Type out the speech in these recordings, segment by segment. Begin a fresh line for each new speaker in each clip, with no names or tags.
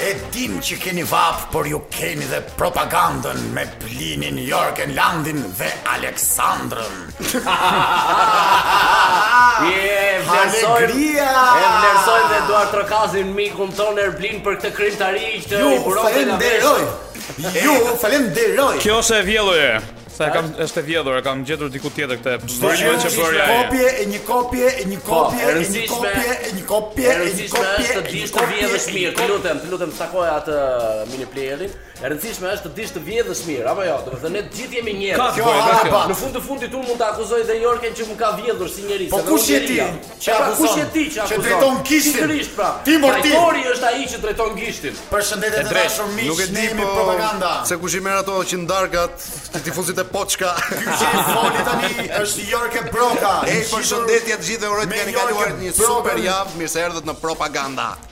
e dim që keni vap, por ju keni dhe propagandën me Plinin, Jorgen, Landin dhe Aleksandrën.
Je,
Ah,
vlerësojmë
Alegria!
E vlerësojmë dhe Eduard Trokazin mikun tonë Erblin për këtë krimtari që
Ju
i buron dhe nga vesh.
falenderoj. Ju falenderoj.
Kjo është e vjedhur e. Sa e kam është e vjedhur, e kam gjetur diku tjetër këtë bërë që bërja e.
kopje e një kopje e një kopje
Po, e
e një
rëndësishme-
kopje e një kopje
E
e një
rëndësishme
kopje
është të
e një
dish të
kopje e
vjedhësh
një
mirë. Të lutem, të lutem takoj atë mini playerin. E rëndësishme është të dish të vjedhësh mirë, apo jo? Domethënë ne të gjithë jemi njerëz.
Ka
Kjo
Po, e ka
hapa.
Në fund të fundit unë mund të akuzoj dhe Jorken që më ka vjedhur si njerëz.
Po kush je ti që akuzon?
Pra, Kush je ti që
Që
akuzon?
drejton gishtin?
Pikërisht pra.
Ti mortir.
Trajtori është ai që drejton gishtin.
Përshëndetje
E
të
drejtë,
dashur miq,
Nuk e
ne
di
jemi
po
propaganda.
se kush i merr ato që ndarkat, që tifuzit e poçka.
Ky që i foli tani është Jorke Broka.
Ej,
i
përshëndetje të gjithëve, uroj
me
të keni
Jorgen
kaluar një
Brokan.
super javë, mirë se erdhët në propaganda.
qitur-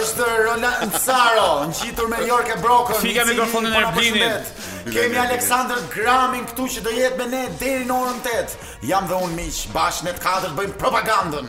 Është Roland Saro, ngjitur me Jorke Brokën.
Fika
i cili
mikrofonin e
po na
Erblinit.
përshëndet. Kemi Aleksandr Gramin këtu që do jetë me ne deri në orën 8. Jam dhe unë miq, bashkë ne të katërt bëjmë propagandën.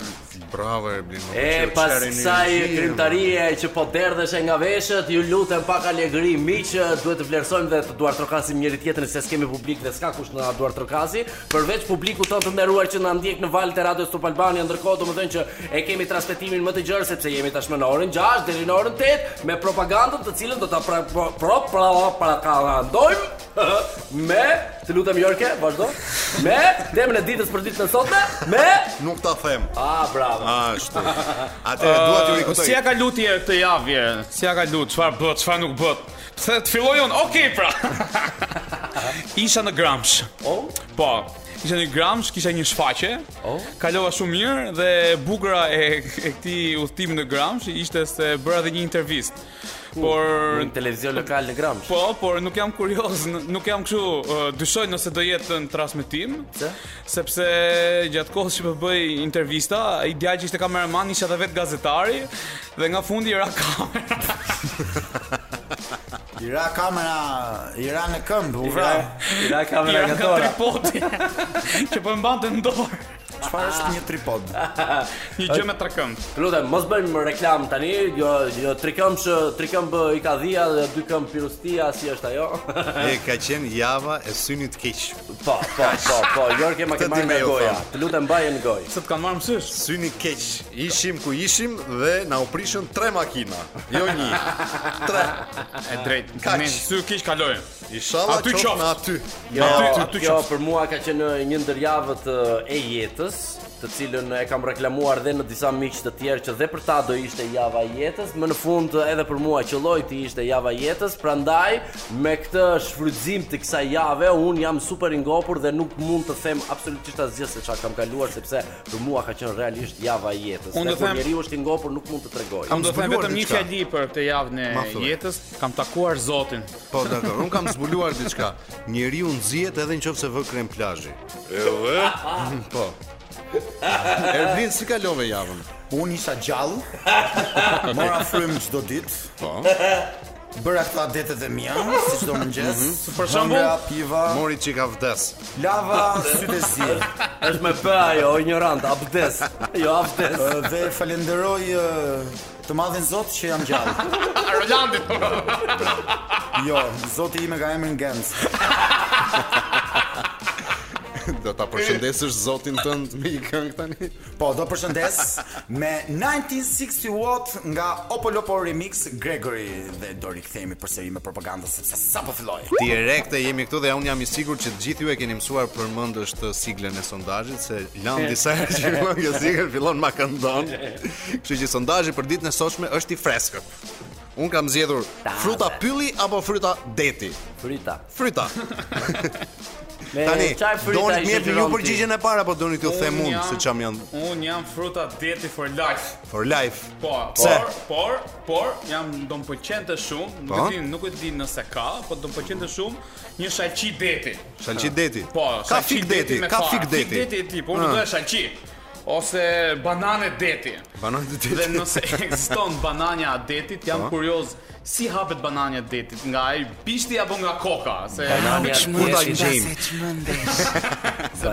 Bravo Erblin. më
E,
pëlqeu,
pas
çfarë
kësaj
energjie,
krimtarie që po derdheshe nga veshët, ju lutem pak alegri miq, duhet të vlerësojmë dhe të duar trokasim njëri tjetrin se s'kemi publik dhe s'ka kush na duar trokasi, përveç publikut tonë të nderuar që na ndjek në valët e radios Top Albania, ndërkohë domethënë që e kemi transmetimin më të gjerë sepse jemi tashmë në orën 6 deri në orën 8 me propagandën të cilën do ta pra pro pro pra pra kandojmë me të lutem Jorke, vazhdo. Me temën e ditës për ditën e sotme, me
më- Nuk ta them. Uh,
Ah, bravo.
Ashtu. Atëherë dua t'ju rikutoj.
Si ja ka lutje këtë javje? Si ja ka lut? Çfarë bët, çfarë nuk bët? Pse të filloj unë? Okej pra. Isha në Gramsh.
Oh.
Po. Isha në Gramsh, kisha një shfaqje.
Oh.
Kalova shumë mirë dhe bukura e, e këtij udhtimi në Gramsh ishte se bëra edhe një intervistë. Por
Në televizion lokal në Gramsh.
Po, por nuk jam kurioz, n- nuk jam kështu, uh, dyshoj nëse do jetë në transmetim.
Pse?
Sepse gjatë kohës që po bëj intervista, ai djalë që ishte kameraman ishte edhe vetë gazetari dhe nga fundi i ra kamera.
I ra kamera, i ra në këmbë, u vra.
Ira
I
kamera
ra ka tripodi që po e mbante në dorë.
Çfarë është një tripod?
Një gjë me trakëm.
Lutem, mos bëjmë reklam tani, jo, jo trikëmsh, trikëmb i ka dhia dhe dy këmb pirustia, si është ajo?
E ka qenë java e synit keq.
po, po, po, po, Jorke ma
Këtë
ke marrë nga
ti me ju
goja.
thon.
Të lutem mbaje në gojë.
Se të kanë marrë mësysh.
Syni keq. Ishim ku ishim dhe na u prishën tre makina, jo një. Tre.
E drejtë.
Kaq.
Ne sy kish kalojnë.
Inshallah
Aty
qoftë
qoftë.
në aty.
Jo,
aty- aty
kjo
qoftë.
për mua ka qenë një ndër javët eh, e jetës, të cilën e kam reklamuar dhe në disa miq të tjerë që dhe për ta do ishte java e jetës, më në fund eh, edhe për mua qëllojti ishte java e jetës, prandaj me këtë shfrytëzim të kësaj jave un jam super i ngopur dhe nuk mund të them absolutisht asgjë se çfarë kam kaluar sepse për mua ka qenë realisht java e jetës.
Unë
Unë
do
kur
them-
njeriu është i ngopur nuk mund të tregoj.
Unë do të them
zbuluar
vetëm një
diçka.
fjali për këtë javën e
Ma thuaj.
jetës. Kam takuar Zotin.
Po, dakor. Un kam zbuluar diçka. Njeriu nxihet edhe nëse vë krem plazhi. E vë? Po. Erblin si kalove javën?
Unë isha gjallë, mora frymë çdo ditë. Po. Bëra këta detet e mia, si çdo mëngjes. Për
Mhm. shembull?
piva,
Mori çika vdes.
lava sytë e si.
Është me p ajo, o ignorant, abdes. Jo abdes.
Ë, Dhe falenderoj ë, të madhin Zot që jam gjallë.
Rolandit.
Jo, Zoti ime ka emrin Gens.
Do ta përshëndesësh Zotin tënd me një këngë tani.
Po, do përshëndes me 1960 Watt nga Opolopo Remix Gregory dhe do rikthehemi përsëri me propagandën sepse sapo filloi.
Direkte jemi këtu dhe unë jam i sigurt që të gjithë ju e keni mësuar përmendësh të siglën e sondazhit se lan disa herë që fillon kjo sigël fillon ma këndon. Kështu që sondazhi për ditën e sotshme është i freskët. Un kam zgjedhur fruta pylli apo fruta deti.
Frita.
Fryta.
Me
Tani,
çaj frita
doni të
ishte
jepni ju
Gjeronti.
përgjigjen e parë apo doni t'ju them unë se çam janë
Unë jam fruta deti for life.
for life?
Po,
Pse?
por, por, por, jam do më pëlqente shumë, nuk
Po?
e di, nuk e di nëse ka, po do më pëlqente shumë një shalqi deti.
Shalqi deti.
Po,
ka
shalqi
fik deti,
me
ka
far.
fik deti.
Fik deti e tip, unë
Ah.
doja shalqi ose banane deti.
Banan deti. Po?
Dhe nëse ekziston bananja e detit, jam kurioz si hapet bananja e detit, nga ai bishti apo nga koka, se
Banania
Ku ta gjejmë?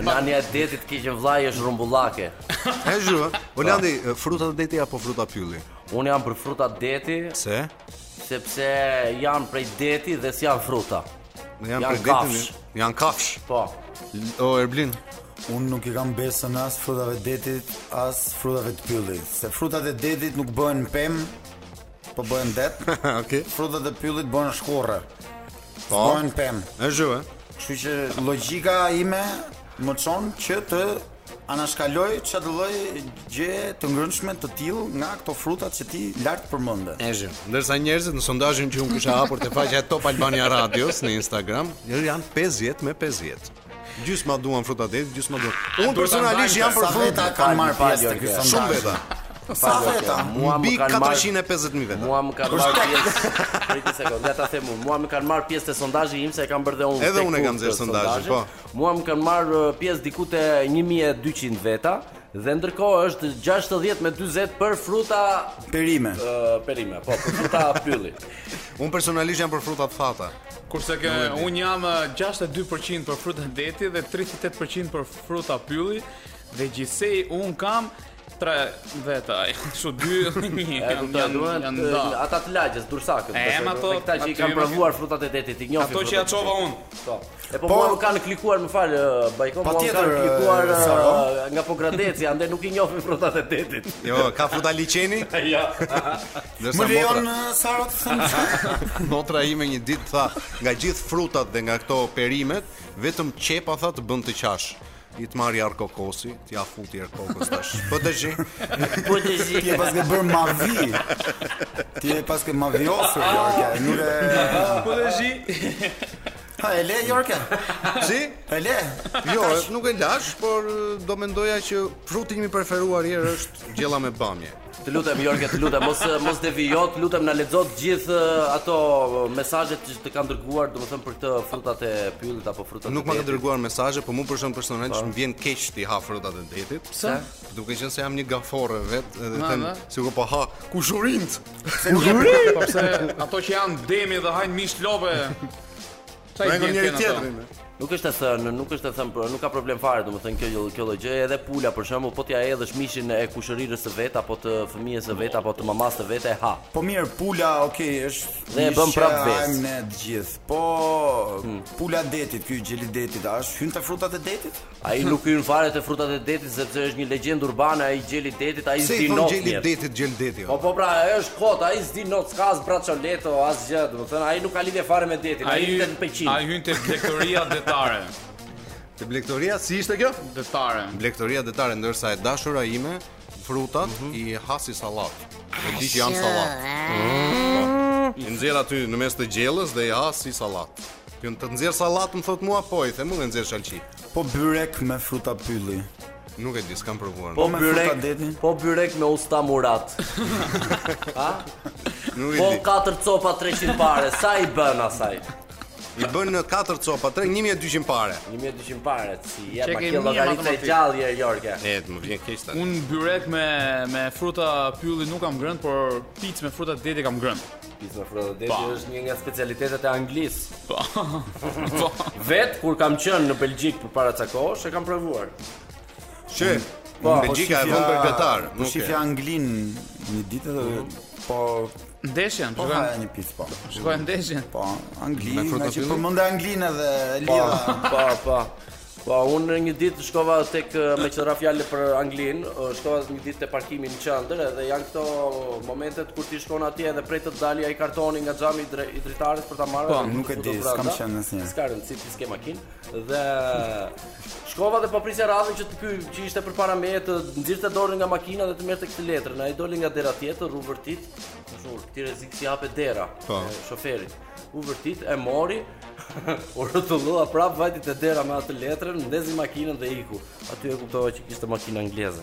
Banania e detit keqen vllai është rumbullake.
E zhua. Olandi, fruta deti apo fruta pylli?
Unë jam për fruta deti
Se?
sepse janë prej deti dhe si janë fruta.
Janë
Janë
për ditën,
kafsh.
janë kafsh.
Po.
O Erblin,
Unë nuk i kam besën as frutave të detit, as frutave të pyllit. Se frutat e detit nuk bëhen pem, po bëhen det.
okay.
Frutat e pyllit bëhen shkurrë,
Po.
bëhen pem.
Është zhu, e?
Kështu që logjika ime më çon që të anashkaloj çdo lloj gjë të ngrënshme të tillë nga këto frutat që ti lart përmende.
E zhu. Ndërsa njerëzit në sondazhin që unë kisha hapur te faqja e Top Albania Radios në Instagram, janë 50 me 50. Gjysma duan fruta të detit, gjysma duan. Unë personalisht jam për
Sa
fruta.
veta ka marrë
falë,
pjesë të
Jorge.
ky
Shumë
sondazh?
veta.
Sa veta?
Mua më
Mbi
kanë marrë-
450000 veta.
Mua më kanë marrë pjesë. Prit një sekondë, le ta them unë. Mua më kanë marrë pjesë të sondazhi im se e kam bërë dhe unë.
Edhe
tek
unë e
punë
kam zirë
të
sondazhin, po.
sondazhin. Mua më kanë marrë uh, pjesë diku te 1200 veta dhe ndërkohë është 60 me 40 për fruta
Perime.
uh, perime, po për fruta pylli.
Unë personalisht jam për fruta të thata.
Kurse kë un jam eh, 62% për fruta deti dhe 38% për fruta pylli dhe gjithsej un kam tre veta. Kështu dy
E
janë
kuptoj,
janë
duhet
janë nda.
uh, ata të lagjës, dursakët.
E,
besoj,
em, ato-
dhe këta që i
aty
kanë
me-
provuar frutat e detit, i njohin.
Ato që ja
frutat e
çova
detit.
un.
Po. E po,
Po-
mua më kanë klikuar, më fal, uh, Bajko, mua më
Patjetër,
kanë klikuar
uh,
uh,
Savo.
nga Pogradeci, ande nuk i njohin frutat e detit.
Jo, ka fruta liçeni,
Ja.
ndërsa
Më lejon
motra,
eh, Saro të them
motra ime një ditë tha, nga gjithë frutat dhe nga këto perimet, vetëm qepa tha të bën të qash. I të marri ar kokosi, ti ja futi ar kokos tash. Po të shi,
Po të shi.
ti e paske bërë mavi. Ti e paske maviosur Jorke, nuk e
Po dhe shi,
Ha, e le Jorke.
si?
E le.
Jo, nuk e lash, por eh, do mendoja që fruti im i preferuar herë është gjella me bamje.
Të lutem Jorge, të lutem mos mos devijo, të lutem na lexo të gjithë eh, ato mesazhet që të kanë dërguar, domethënë për këtë frutat e pyllit apo frutat
Nuk
e
ma ka
detit.
dërguar mesazhe, po mu për shkak personalisht më vjen keq ti ha frutat e detit. Pse? Duke qenë se jam një gaforë vet, edhe them
na.
sikur po ha kushurint.
po pse ato që janë demi dhe hajnë mish lope. Sa i
Prengo
vjen
Pra, njëri
kanë ato?
tjetrin.
Nuk është e thënë, nuk është e thënë, por nuk ka problem fare domethënë kjo kjo lloj gjëje, edhe pula për shembull, po t'ja hedhësh mishin e kushërirës së vet apo të fëmijës së vet apo të mamas së vet e ha.
Po mirë, pula, okay, është
Dhe e
një
bëm Hmm.
që
prap vezë.
hajmë ne të gjithë. Po pula detit, ky gjeli detit, a është hyn te frutat e detit?
Ai nuk hyn fare te frutat e detit sepse është një legjendë urbane ai gjeli detit, ai
Se i
zdinon.
thon gjeli
njerëz.
detit, jo. gjel deti.
Po po pra, ajo është kot, ai s'di not s'ka as braçoleto, as gjë, domethënë ai nuk ka lidhje fare me detin, ai
Ai
hynte në Peqin.
ai hyn te lektoria detare.
Te blektoria si ishte kjo?
Detare.
Blektoria detare ndërsa e dashura ime frutat i hasi sallat. E di që janë sallat. Po. I nxjerr aty në mes të gjellës dhe i ha si sallat. Kjo të nxjerr sallat më thot mua po, i them unë e nxjerr shalqi.
Po byrek me fruta pylli.
Po, Nuk e di, s'kam provuar.
Po
me
byrek,
fruta detin?
po byrek me usta Murat.
nuk e
Po
di.
4 copa 300 pare, sa i bën asaj?
I bën në 4 copa, 3 1200 pare.
1200 pare, si ja
Çe
pa
ke
kjo
mirë
llogaritë e
matematikë.
gjallë e Jorge.
E, të më vjen keq tani.
Un byrek me me fruta pylli nuk kam grënë, por pic me fruta deti kam grënë.
Pizza fruta deti është një nga specialitetet e Anglisë.
Po. Po.
Vet kur kam qenë në Belgjik përpara ca kohësh e kam provuar.
Që
Po,
në Belgjika e vën për gatar.
Po
Nuk
shifja
e. Hmm.
Anglin një ditë dhe po
Ndeshjen,
po
shkojmë
haja një picë po.
shkojmë ndeshjen.
Po, Angli,
Me fruta
nga që
pylli?
përmenda Anglin edhe
Po,
lidha.
po, po. Po, unë një ditë shkova tek eh, me qëra fjallë për Anglinë, eh, shkova një ditë te parkimi në qendër edhe janë këto momentet kur ti shkon atje dhe prej të dali ai kartoni nga xhami i dre- i dritarit për ta marrë.
Po,
dhe
nuk e
futu
di,
brenda.
s'kam qenë asnjëherë.
S'ka rëndësi ti s'ke makinë dhe shkova dhe po prisja radhën që të ky që ishte përpara meje të nxirrte dorën nga makina dhe të merrte këtë letrën. Ai doli nga dera tjetër, u vërtit, ashtu, ti rrezik si hapet dera
Po.
e shoferit. U vërtit, e mori, u rrotullua prap vajti te dera me atë letrën, ndezi makinën dhe iku. Aty e kuptova që kishte makina angleze.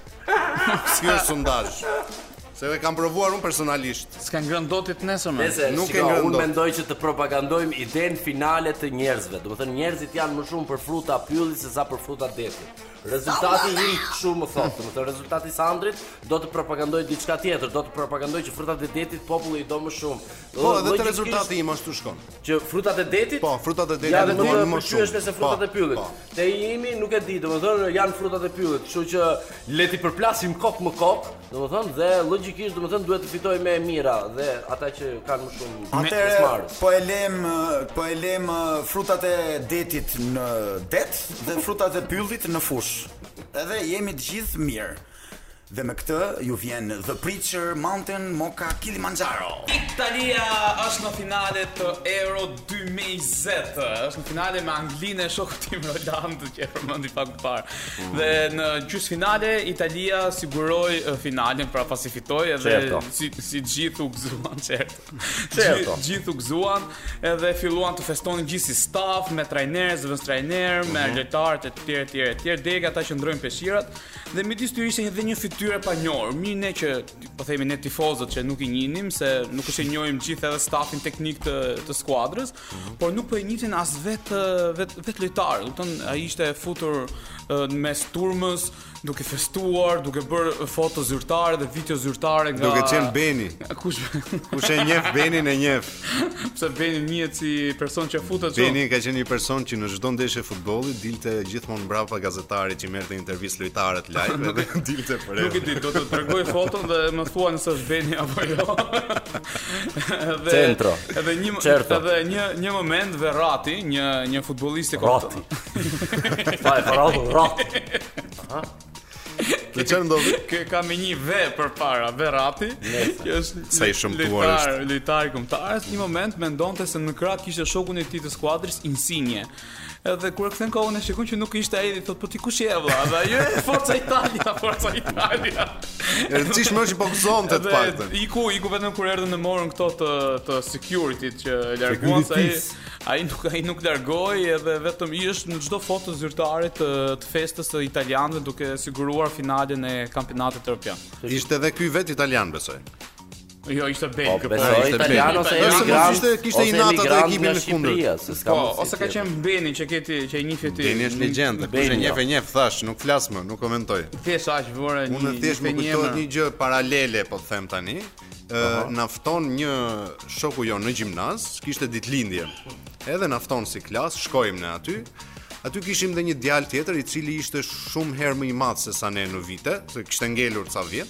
Ky është sondazh. Se e kam provuar unë personalisht.
S'ka ngrën dot të nesërme.
Nëse
Nuk
nuk
e ngrënë
unë
dot.
mendoj që të propagandojmë idenë finale të njerëzve. Do të thënë njerëzit janë më shumë për fruta pyllit se sa për fruta detit. Rezultati i shumë më thotë, do të thënë rezultati i Sandrit do të propagandojë diçka tjetër, do të propagandojë që frutat e detit populli i do më shumë. Do-
Po, edhe te
logjikisht
rezultati im ashtu shkon.
që frutat e detit
Po, frutat e detit
janë
do
më
janë
më
më
shumë
shumë.
se frutat
Po,
e pyllit.
po.
Te jimi nuk e di, domethënë janë frutat e pyllit, kështu që le ti përplasim kokë më kokë, domethënë dhe logjikisht domethënë duhet të fitoj me e mira dhe ata që kanë më shumë
Atëre
smarë.
po e lem eh, po e lem eh, frutat e detit në det dhe frutat e pyllit në fush. Edhe jemi të gjithë mirë. Dhe me këtë ju vjen The Preacher Mountain Moka Kilimanjaro.
Italia është në finale të Euro 2020. Është në finale me Anglinë e shokut tim Roland që e përmendi pak më parë. Dhe në gjysmëfinale Italia siguroi eh, finalen pra pasi fitoi edhe
Certo.
si si gjithu gëzuan çerto.
Certo.
Gjithu gëzuan edhe filluan të festonin gjithë si staf me trajnerë, zëvendës trajner, me
Mhm.
lojtarët e tjerë e tjerë e tjerë deri ata që ndrojnë peshirat dhe midis tyre ishte edhe një fytyrë e panjohur. Mirë ne që po themi ne tifozët që nuk i njihnim se nuk është e njohim gjithë edhe stafin teknik të të skuadrës,
Mhm.
por nuk po e njihin as vetë vet vet lojtar. Do të thonë ai ishte futur eh, në mes turmës duke festuar, duke bërë foto zyrtare dhe video zyrtare nga
Duke qenë Beni.
kush
Kush e njeh Benin e njeh.
Pse Beni mjet si person që futet çu.
Beni ka qenë një person që në çdo ndeshje futbolli dilte gjithmonë mbrapa gazetarit që merrte intervistë lojtarët live dhe dilte për
jo, Nuk e di, do të tregoj foton dhe më thua nëse është Beni apo jo. edhe
Centro.
Edhe një
Certo.
edhe një një moment Verratti, një një futbollist i
Roti. Pa e parallë, roti.
Dhe çfarë ndodhi?
Kë ka me një ve për para Verratti, që është
Sa i shëmtuar
lojtar, lojtar kombëtar, në një moment mendonte se në krah kishte shokun e tij të skuadrës Insigne. Edhe kur e kthen kohën e shikon që nuk ishte ai, i thot po ti kush je vëlla? Dhe ajo e Forza Italia, Forza Italia.
E rëndësishme është që po gëzonte të
Edhe
paktën.
iku, iku vetëm kur erdhën në morën këto të të security që larguan se ai ai nuk ai nuk largoi edhe vetëm i është në çdo foto zyrtare të, të festës së italianëve duke siguruar finalen e kampionatit evropian.
Ishte edhe ky vet italian besoj.
Jo, ishte
Po
Belg.
ai
besoj
ishte
italian
blerë.
ose
Nëse mos
emigrant.
ishte- kishte
ose
i natat e
emigrant
ekipin
nga
në kundër.
Shqipëria, se s'ka
Po,
mundësi
ose ka
tjetër.
qenë Beni që keti që e njifi ti.
Beni është legjendë. Kush
Beni,
e njeh
jo.
e njeh thash, nuk flas më, nuk komentoj.
Thjesht aq vore pra një.
Unë thjesht më
një
kujtohet
emër.
një gjë paralele, po të them tani. Ë na fton një shoku jon në gjimnaz, kishte ditëlindje. Edhe na fton si klas, shkojmë ne aty. Aty kishim dhe një djalë tjetër i cili ishte shumë herë më i madh se sa ne në vite, se kishte ngelur ca vjet.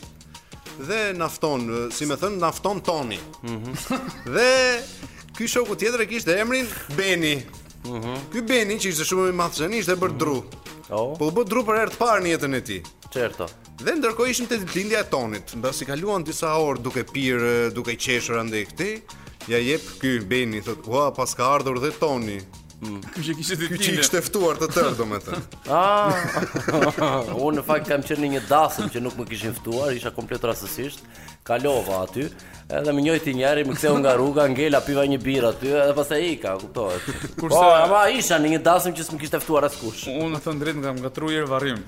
Dhe na fton, ë, si më thën, na fton Toni.
Mhm.
dhe ky shoku tjetër e kishte emrin Beni.
Mhm.
Ky Beni që ishte shumë më i madh se ne, ishte bërë dru.
Oh.
Po,
Po u bë dru për herë të parë në jetën e tij.
çerto.
Dhe ndërkohë ishim te ditëlindja e Tonit, ndasi kaluan disa orë duke pirë, duke qeshur andaj këtej, ja jep ky Beni thot, "Ua, pas ka ardhur dhe Toni."
Ky që kishte
Ky që i
ditëlindje.
kishte ftuar të tërë, domethënë.
Ah, unë në fakt kam qenë në një dasëm që nuk më kishin ftuar, isha komplet rastësisht. Kalova aty, edhe më njëjti njëri më ktheu nga rruga, ngela piva një birë aty, edhe pastaj ika, kuptohet. Kurse...
Kurse-
Po, ama isha në një dasëm që s'më kishte ftuar askush.
Unë të drejtë nga më gatrujer varrim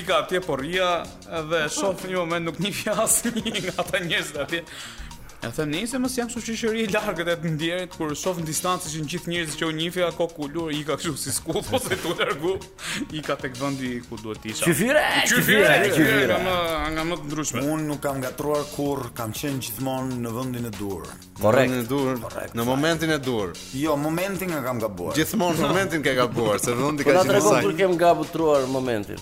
Ika atje po porria Dhe shof një moment nuk një fjas Një nga ata njerëzit atje E them nëse mos jam kështu qyshëri i largët e të ndjerit kur shoh në distancë që gjithë njerëzit që u njihja kokë u lur, ika kështu si skuq ose tu largu, ika tek vendi ku duhet të isha.
Qyfyre,
Qyfyre, qyfyre, nga
qyfyre.
më nga më të ndryshme.
Unë nuk kam gatruar kur, kam qenë gjithmonë në vendin e dur.
Korrekt.
Në momentin e dur, në momentin e dur.
Jo, momentin e kam gabuar.
Gjithmonë momentin ke gabuar, se vendi ka
Po na
qenë
tregon
saj.
kur kem gabutruar momentin.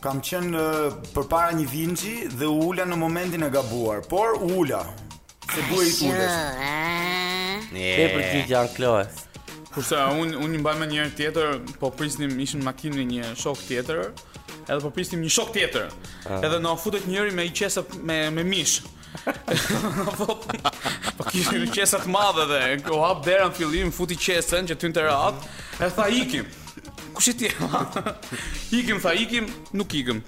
Kam qenë eh, përpara një vinçi dhe u ula në momentin e gabuar, por u ula. Se duhej të ulesh.
Te përgjigje an Kloe.
Kurse unë unë i mbaj me njëherë tjetër, po prisnim ishin në makinë me një shok tjetër, edhe po prisnim një shok tjetër. Edhe na futet njëri me i qesa me me mish. po po kishin një qesa të madhe dhe u hap dera në fillim, futi qesën që ty në të rat, e tha ikim. Kush e ti? ikim tha ikim, nuk ikim.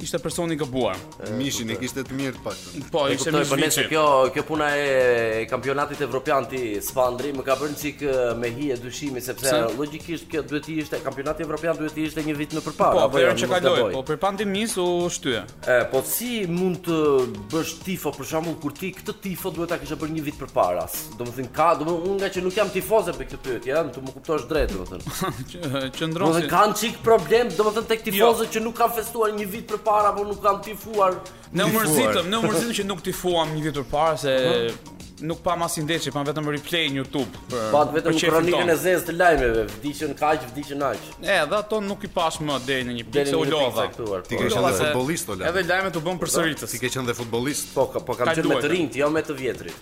ishte personi i gabuar.
Mishin e kishte të mirë të paktën.
Po,
E
ishte
kuptoj, po
mishmiçi.
nesër kjo kjo puna e kampionatit evropian ti Spandri më ka bërë një çik eh, me hi e dyshimi sepse
Pse?
logjikisht kjo duhet të ishte kampionati evropian duhet të ishte një vit më përpara.
Po,
apo jo,
për që
nuk mos
kaloi,
gaboj.
po për pandemisë u shtye.
E, po si mund të bësh tifo për shembull kur ti këtë tifo duhet ta kishe bërë një vit përpara? S- Domethënë ka, domethënë unë nga që nuk jam tifoze për këtë pyetje, ja, të më kuptosh drejt domethënë.
Që- Qëndron si.
Domethënë kanë çik problem domethënë
Jo.
tek tifozët që nuk kanë festuar një vit përpara apo nuk kanë tifuar.
Ne u
tifuar.
mërzitëm, ne u mërzitëm që nuk tifuam një vit përpara se nuk pam as ndeshje, pam vetëm replay në YouTube për
Pa Po, vetëm
për qefin
kronikën
ton.
e zezë të lajmeve, vdiqën kaq, vdiqën aq.
E, dhe ato nuk i pash më deri në një pikë
Deri
se
në
u
një pikë
lodha.
caktuar.
Ti
po.
ke qenë dhe
Lodha se-
futbollist Ola.
Edhe lajmet u bën përsëritës.
Ti ke qenë dhe futbollist.
Po, ka, po kam
Ka
qenë me të
duhet.
rinjt, jo me të vjetrit.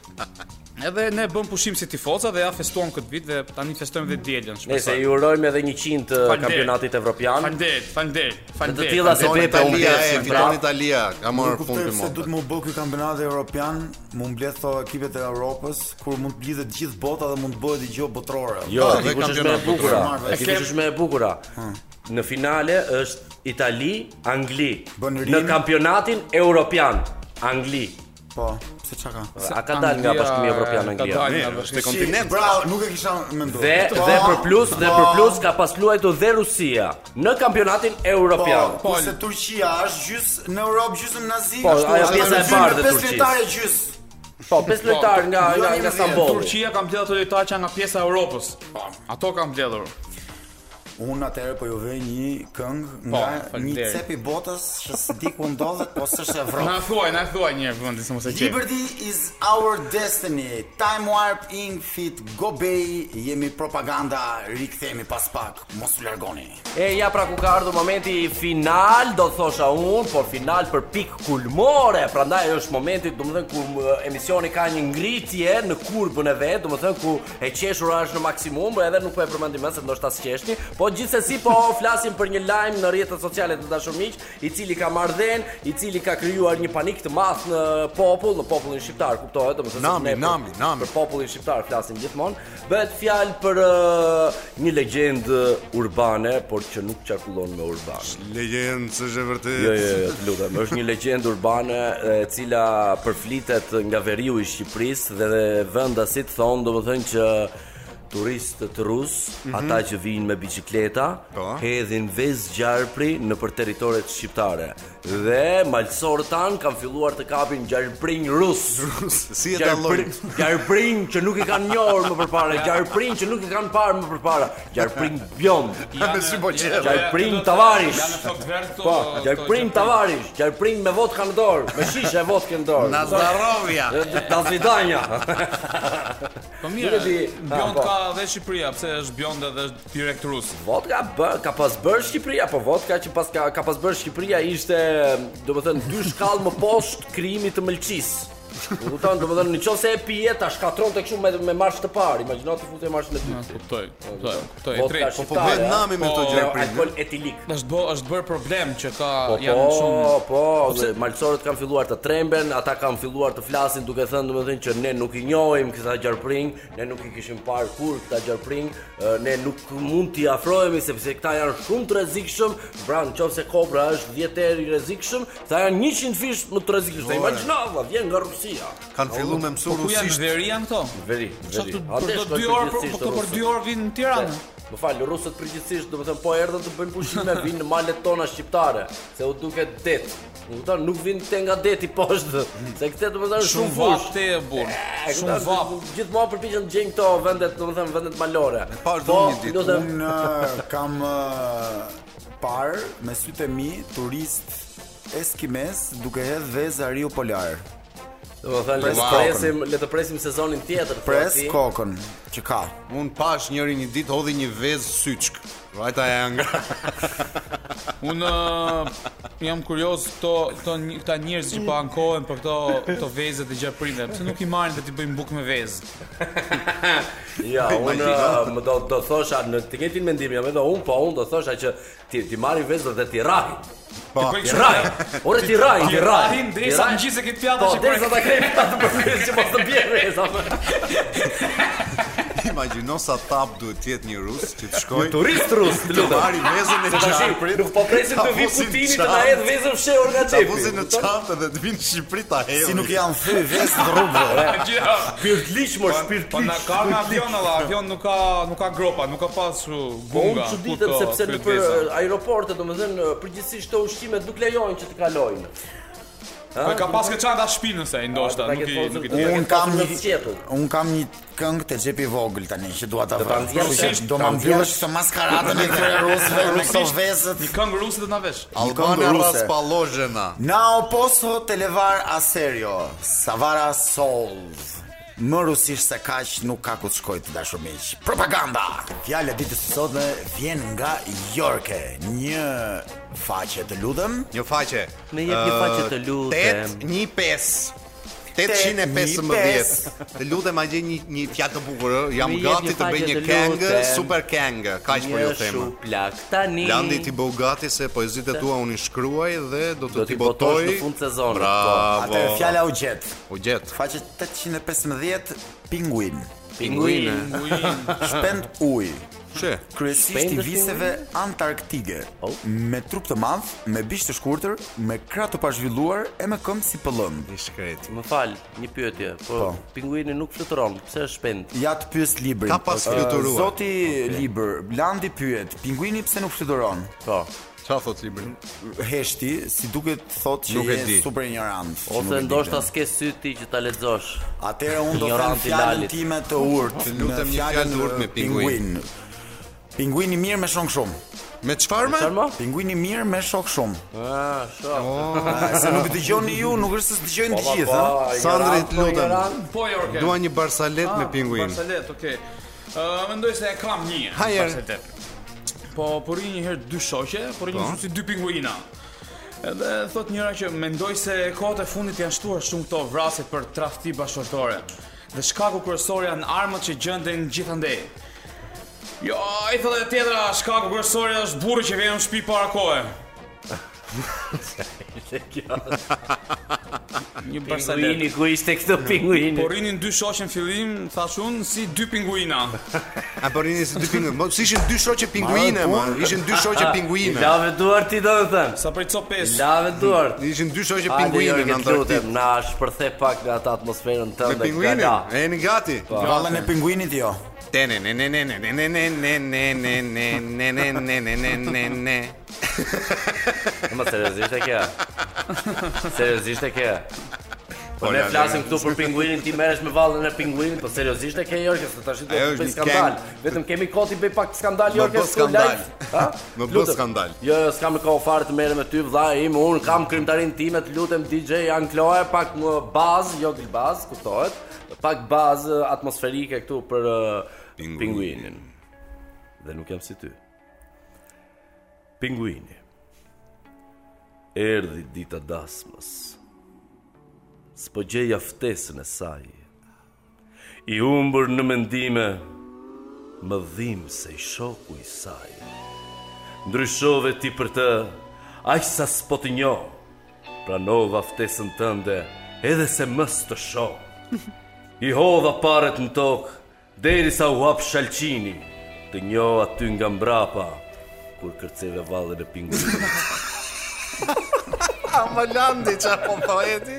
Edhe ne bëm pushim si tifoza dhe ja festuam këtë vit dhe tani festojmë dhe dielën.
Nëse ju urojmë edhe 100 të
Falënderit.
kampionatit evropian.
Faleminderit, faleminderit,
Të
faleminderit.
tilla se
Fiton
Pep
Italia,
Guardiola,
e
pra.
fiton Italia, ka
Nuk
marrë
kuptoj
punë të
pse duhet
mota.
më bëj ky kampionat evropian, më mbledh këto ekipet e Europës kur mund të lidhet gjithë bota dhe mund të bëhet gjë botërore.
Jo,
Po, dhe
dikush është më e
kampionat
bukura.
botëror.
E Dikush është më e bukura. Në finale është Itali, Angli.
Bën
Në
rim.
kampionatin evropian, Angli.
po, pse çka ka?
A ka dalë nga bashkimi evropian Anglia?
Ka dalë nga
Mirë, është e
bashkimi.
kontinent.
Bravo, nuk e kisha menduar.
Dhe
Po,
dhe për plus dhe për plus ka pas luajtur dhe Rusia në kampionatin evropian.
Po, kurse Turqia është gjys në Europë gjysmë nazi.
Po, ajo pjesa e bardhë e
Pesë
Turqisë.
lojtarë gjys.
Po, pesë lojtar nga nga nga Stambolli.
Turqia ka mbledhur ato lojtarë që janë nga pjesa e Europës.
Po.
Ato kanë mbledhur.
Unë atëherë po ju vë një këngë nga
Po,
një
faleminderit.
cep i botës që s'di ku ndodhet, po s'është
Pra.
Evropë.
Na thuaj, na thuaj një herë vendi se mos e qej.
Liberty is our destiny. Time Warp Inc fit Gobei jemi propaganda, rikthehemi pas pak. Mos u largoni.
E ja pra ku ka ardhur momenti final, do thosha unë, por final për pikë kulmore. Prandaj është momenti, domethënë ku më, emisioni ka një ngritje në kurbën e vet, domethënë ku e qeshura është në maksimum, por edhe nuk po e përmendim më se ndoshta s'qeshni, po gjithsesi po flasim për një lajm në rrjetet sociale të dashur miq, i cili ka marrë dhënë, i cili ka krijuar një panik të madh në popull, në popullin shqiptar, kuptohet, domethënë se
Nami,
ne po për-
nami, nami.
për popullin shqiptar flasim gjithmonë, bëhet fjalë për uh, një legjendë urbane, por që nuk qarkullon me urban.
Legjendë, s'është e
Jo,
vërtetë.
jo, jo, të lutem. Është një legjendë urbane e cila përflitet nga veriu i Shqipërisë dhe vendasit thonë domethënë që turistët rus, ata që vinë me biçikleta,
Po.
hedhin vez gjarpri në për territoret shqiptare. Dhe malsorët tan kanë filluar të kapin gjarprinj rus.
Si e
Gjarprin,
dallojnë?
gjarprin që nuk i kanë njohur më përpara, gjarprin që nuk i kanë parë më përpara, gjarprin bjond,
Me sy po qelë.
gjarprin tavarish.
Janë në flokë të verdh këto.
Po,
këto
gjarprin tavarish, gjarprin me vodka në dorë, me shishe vodka në dorë.
Nazarovia.
Na zvidanja.
Po
Nuk
mirë,
e di. Ah,
Bjond
po.
ka dhe Shqipëria, pse është Bjond edhe është direkt rus.
Vodka bë, ka pas bërë Shqipëria, po vodka që pas ka, ka pas bërë Shqipëria ishte, domethënë dy shkallë më poshtë krijimit të mëlçisë. U kupton, domethënë nëse e pije ta shkatronte kështu me me marsh të parë. Imagjino të futë marsh në
Ja,
dytë.
Kuptoj, kuptoj, kuptoj. E
Vodka
drejtë.
Po bëhet
Tare,
nami me
po,
këto
Me
gjarprinj.
Alkool etilik.
Është bë, është bërë problem që ka
Po,
janë
po,
shumë
po, dhe malsorët kanë filluar të tremben, ata kanë filluar të flasin duke thënë domethënë që ne nuk i njohim këta gjarpring, ne nuk i kishim parë kur këta gjarpring, ë, ne nuk mund t'i afrohemi sepse këta janë shumë të rrezikshëm, pra nëse kobra është 10 herë i rrezikshëm, këta janë 100 fish më të rrezikshëm. Imagjino, valla, vjen nga Rusia.
Kanë filluar me mësu
Po ku janë
rusisht.
veri janë këto?
Veri,
Çfarë
veri.
të- për do 2 orë, po këto për 2 orë vinë në Tiranë.
Më fal, rusët përgjithsisht, domethënë po erdhën të bëjnë pushime, vinë në malet tona shqiptare, se u duket det. Më kupton, nuk vinë te nga deti poshtë, se këtë domethënë është shumë
Shumë
Eh,
vap
fush.
te e burr.
E,
Shumë
kupton,
vap.
Gjithmonë përpiqen të gjejnë këto vendet, domethënë vendet malore. Po,
pa ardhur një ditë,
lutem,
Unë uh, kam uh, parë me sytë e mi turist eskimes duke hedhë dhe zariu polar.
domethënë le
pres
të
kokën.
presim, le të presim sezonin tjetër. thua
Po,
Pres
ti.
kokën që ka.
Un pash njëri një ditë hodhi një vezë syçk. Vajta e angra.
Unë ë, jam kurioz këto këto nj- këta njerëz që po ankohen për këto këto vezët e gjarprinve. Pse nuk i marrin dhe t'i bëjnë bukë me vezë?
Ja, unë uh, më do do thosha në të njëjtin mendim jam edhe unë, po unë do thosha që ti ti marrin vezët dhe ti rahin.
Po.
Bëj
Ti
kështu.
rahin. Ore ti rahin, ti rahin.
Rahin dresa
Ti rahin.
ngjisë këtë pjatë
Po,
që
derisa
për.
ta kemi ta të përfyes që mos të bjerë reza.
Imagjino sa tap duhet të jetë një rus që të shkojë
turist rus,
të marrë vezën e
Tashi,
çarprit.
nuk po presim
ta
të vi
fusin
Putini të
çarp,
na hedh vezën fshehur nga
Ta
xhepi.
fusin në çantë dhe të vinë në Shqipëri ta hedhin.
Si nuk janë thy vezë rrugë.
Shpirtliç më shpirtliç.
Po na ka nga avion, alla, avion nuk ka nuk ka gropa, nuk ka pas uh,
Po unë
gunga.
që ditëm
ku të
sepse në
kryet
për
veza.
aeroporte, domethënë përgjithsisht këto ushqimet nuk lejojnë që të kalojnë.
Po ka pas këtë çanta shtëpi nëse i ndoshta,
ta
nuk
Pra, ke
i
pasur-
nuk i
Unë
Un kam
Në
një
sqetull.
un kam një këngë te xhepi i vogël tani që dua ta vë.
nxjerrësh,
Kështu që
ta
Do ma
nxjerrësh.
mbyllësh këtë maskaradë me këtyre rusëve, me këto
Rusisht.
vezët.
Një këngë ruse do na vesh.
Albana
ruse.
Raspallozhena.
Na oposo televar aserio, savara solv. Më rusisht se kaq nuk ka ku të shkoj të dashur miq. Propaganda. Fjala e ditës së sotme vjen nga Yorke, një faqe të lutem.
Një faqe.
Ne jep një faqe të lutem.
815. 815. Të lutem ma gjej një një fjalë të bukur, ë. jam
Ne jep
gati
një
të bëj
faqe
një
të
kengë,
lutem.
super kengë, kaq po
Një
ju them.
shuplak tani.
Landi ti bëu gati se poezitë tua unë i shkruaj dhe do
Do
të
t'i
ti
botosh
botoj Pra,
në fund sezonit, po.
Bravo.
Atë fjala u gjet.
u gjet.
Faqe 815 pinguin.
pinguin.
Shpend ujë.
Çe?
Kryesisht i
Shpendës
viseve antarktike.
Oh.
Me trup të madh, me bish të shkurtër, me krah të pazhvilluar e me këmbë si pëllëm.
I shkret.
Më fal, një pyetje, po,
Po.
pinguini nuk fluturon, pse është shpend?
Ja të pyes librin.
Ka pas
Ë,
fluturuar.
Zoti libër, Landi pyet, pinguini pse nuk fluturon?
Po.
Çfarë thot libri?
Heshti, si duket thotë që
Nuk e di.
je super ignorant. që nuk e
Ose
di
ndoshta
këtë.
s'ke sy ti që ta lexosh.
Atëherë unë do të them
ignorant i
fjalën
Lalit.
time të urtë.
Të lutem
në
një fjalë
fjalën,
të urtë me
uh,
pinguin.
Pinguini mirë me shok shumë.
Me çfarë më?
Çfarë më?
Pinguini mirë me shok shumë.
Ah, shoh.
A, Se nuk dëgjoni ju, nuk është se
Po,
dëgjojnë të gjithë, ha.
Sandri, të lutem.
Po Jorgen.
Dua një barsalet me pinguin.
Barsalet, Ah, okay. Ë mendoj se e kam një.
Hajër.
barsalet. Po po rri një herë dy shoqe, po rri një si dy pinguina. Edhe thot njëra që mendoj se kohët e fundit janë shtuar shumë këto vrasje për tradhti bashkëshortore. Dhe shkaku kryesor janë armët që gjenden gjithandej. Jo, i thotë e tjetra, shkaku kryesor është burri që vjen në shtëpi para kohe. Një barsalet.
Pinguini ku ishte këtë pinguini?
Po rrinin dy shoqe në fillim, thash unë, si dy pinguina.
A po rini si dy pinguin. Mos ishin dy shoqe pinguine,
Ma,
më.
po.
Ishin dy shoqe
I
pinguine.
lave duart ti do të thënë.
Sa për copes.
Lave duart.
Ishin dy shoqe
Hajde
pinguine në
Jorgen, të
Antarktidë.
lutem, na shpërthe pak nga atë atmosferën
Me
tënde.
pinguinin,
gala.
e jeni gati.
Pra, Vallën e pinguinit jo.
Tene ne ne ne ne ne ne ne ne ne ne ne ne ne ne ne ne ne.
Ma seriozisht e kjo? Seriozisht e kjo? Po
Po,
ne
ja,
flasim
ja.
këtu për pinguinin, ti merresh me vallën e pinguinit, po seriozisht e ke Jorgen, se tash do
Ajo
të
është
bëj
një
skandal.
keng.
Vetëm kemi kohë ti bëj pak skandal
Më
Jorgen,
bë
s'ku
skandal.
live. Ha?
Më bë
Lutem.
skandal.
Jo, jo, s'kam kohë fare të merrem me ty, vëlla im, un kam krimtarin time, të lutem DJ Ankloe pak më bazë, jo gil bazë, kuptohet? Pak bazë atmosferike këtu për eh,
Pinguinin.
pinguinin. Dhe nuk jam si ty. Pinguini. Erdhi dita dasmës. S'po gjeja ftesën e saj. I umbër në mendime, më dhimë se i shoku i saj. Ndryshove ti për të, aq sa s'po të njoh. Pranova ftesën tënde, edhe se mës të shoh. I hodha paret në tokë, deri sa u hap shalqini, të njoh aty nga mbrapa, kur kërceve vallën e pinguinit.
Ama landi çfarë po thojeti?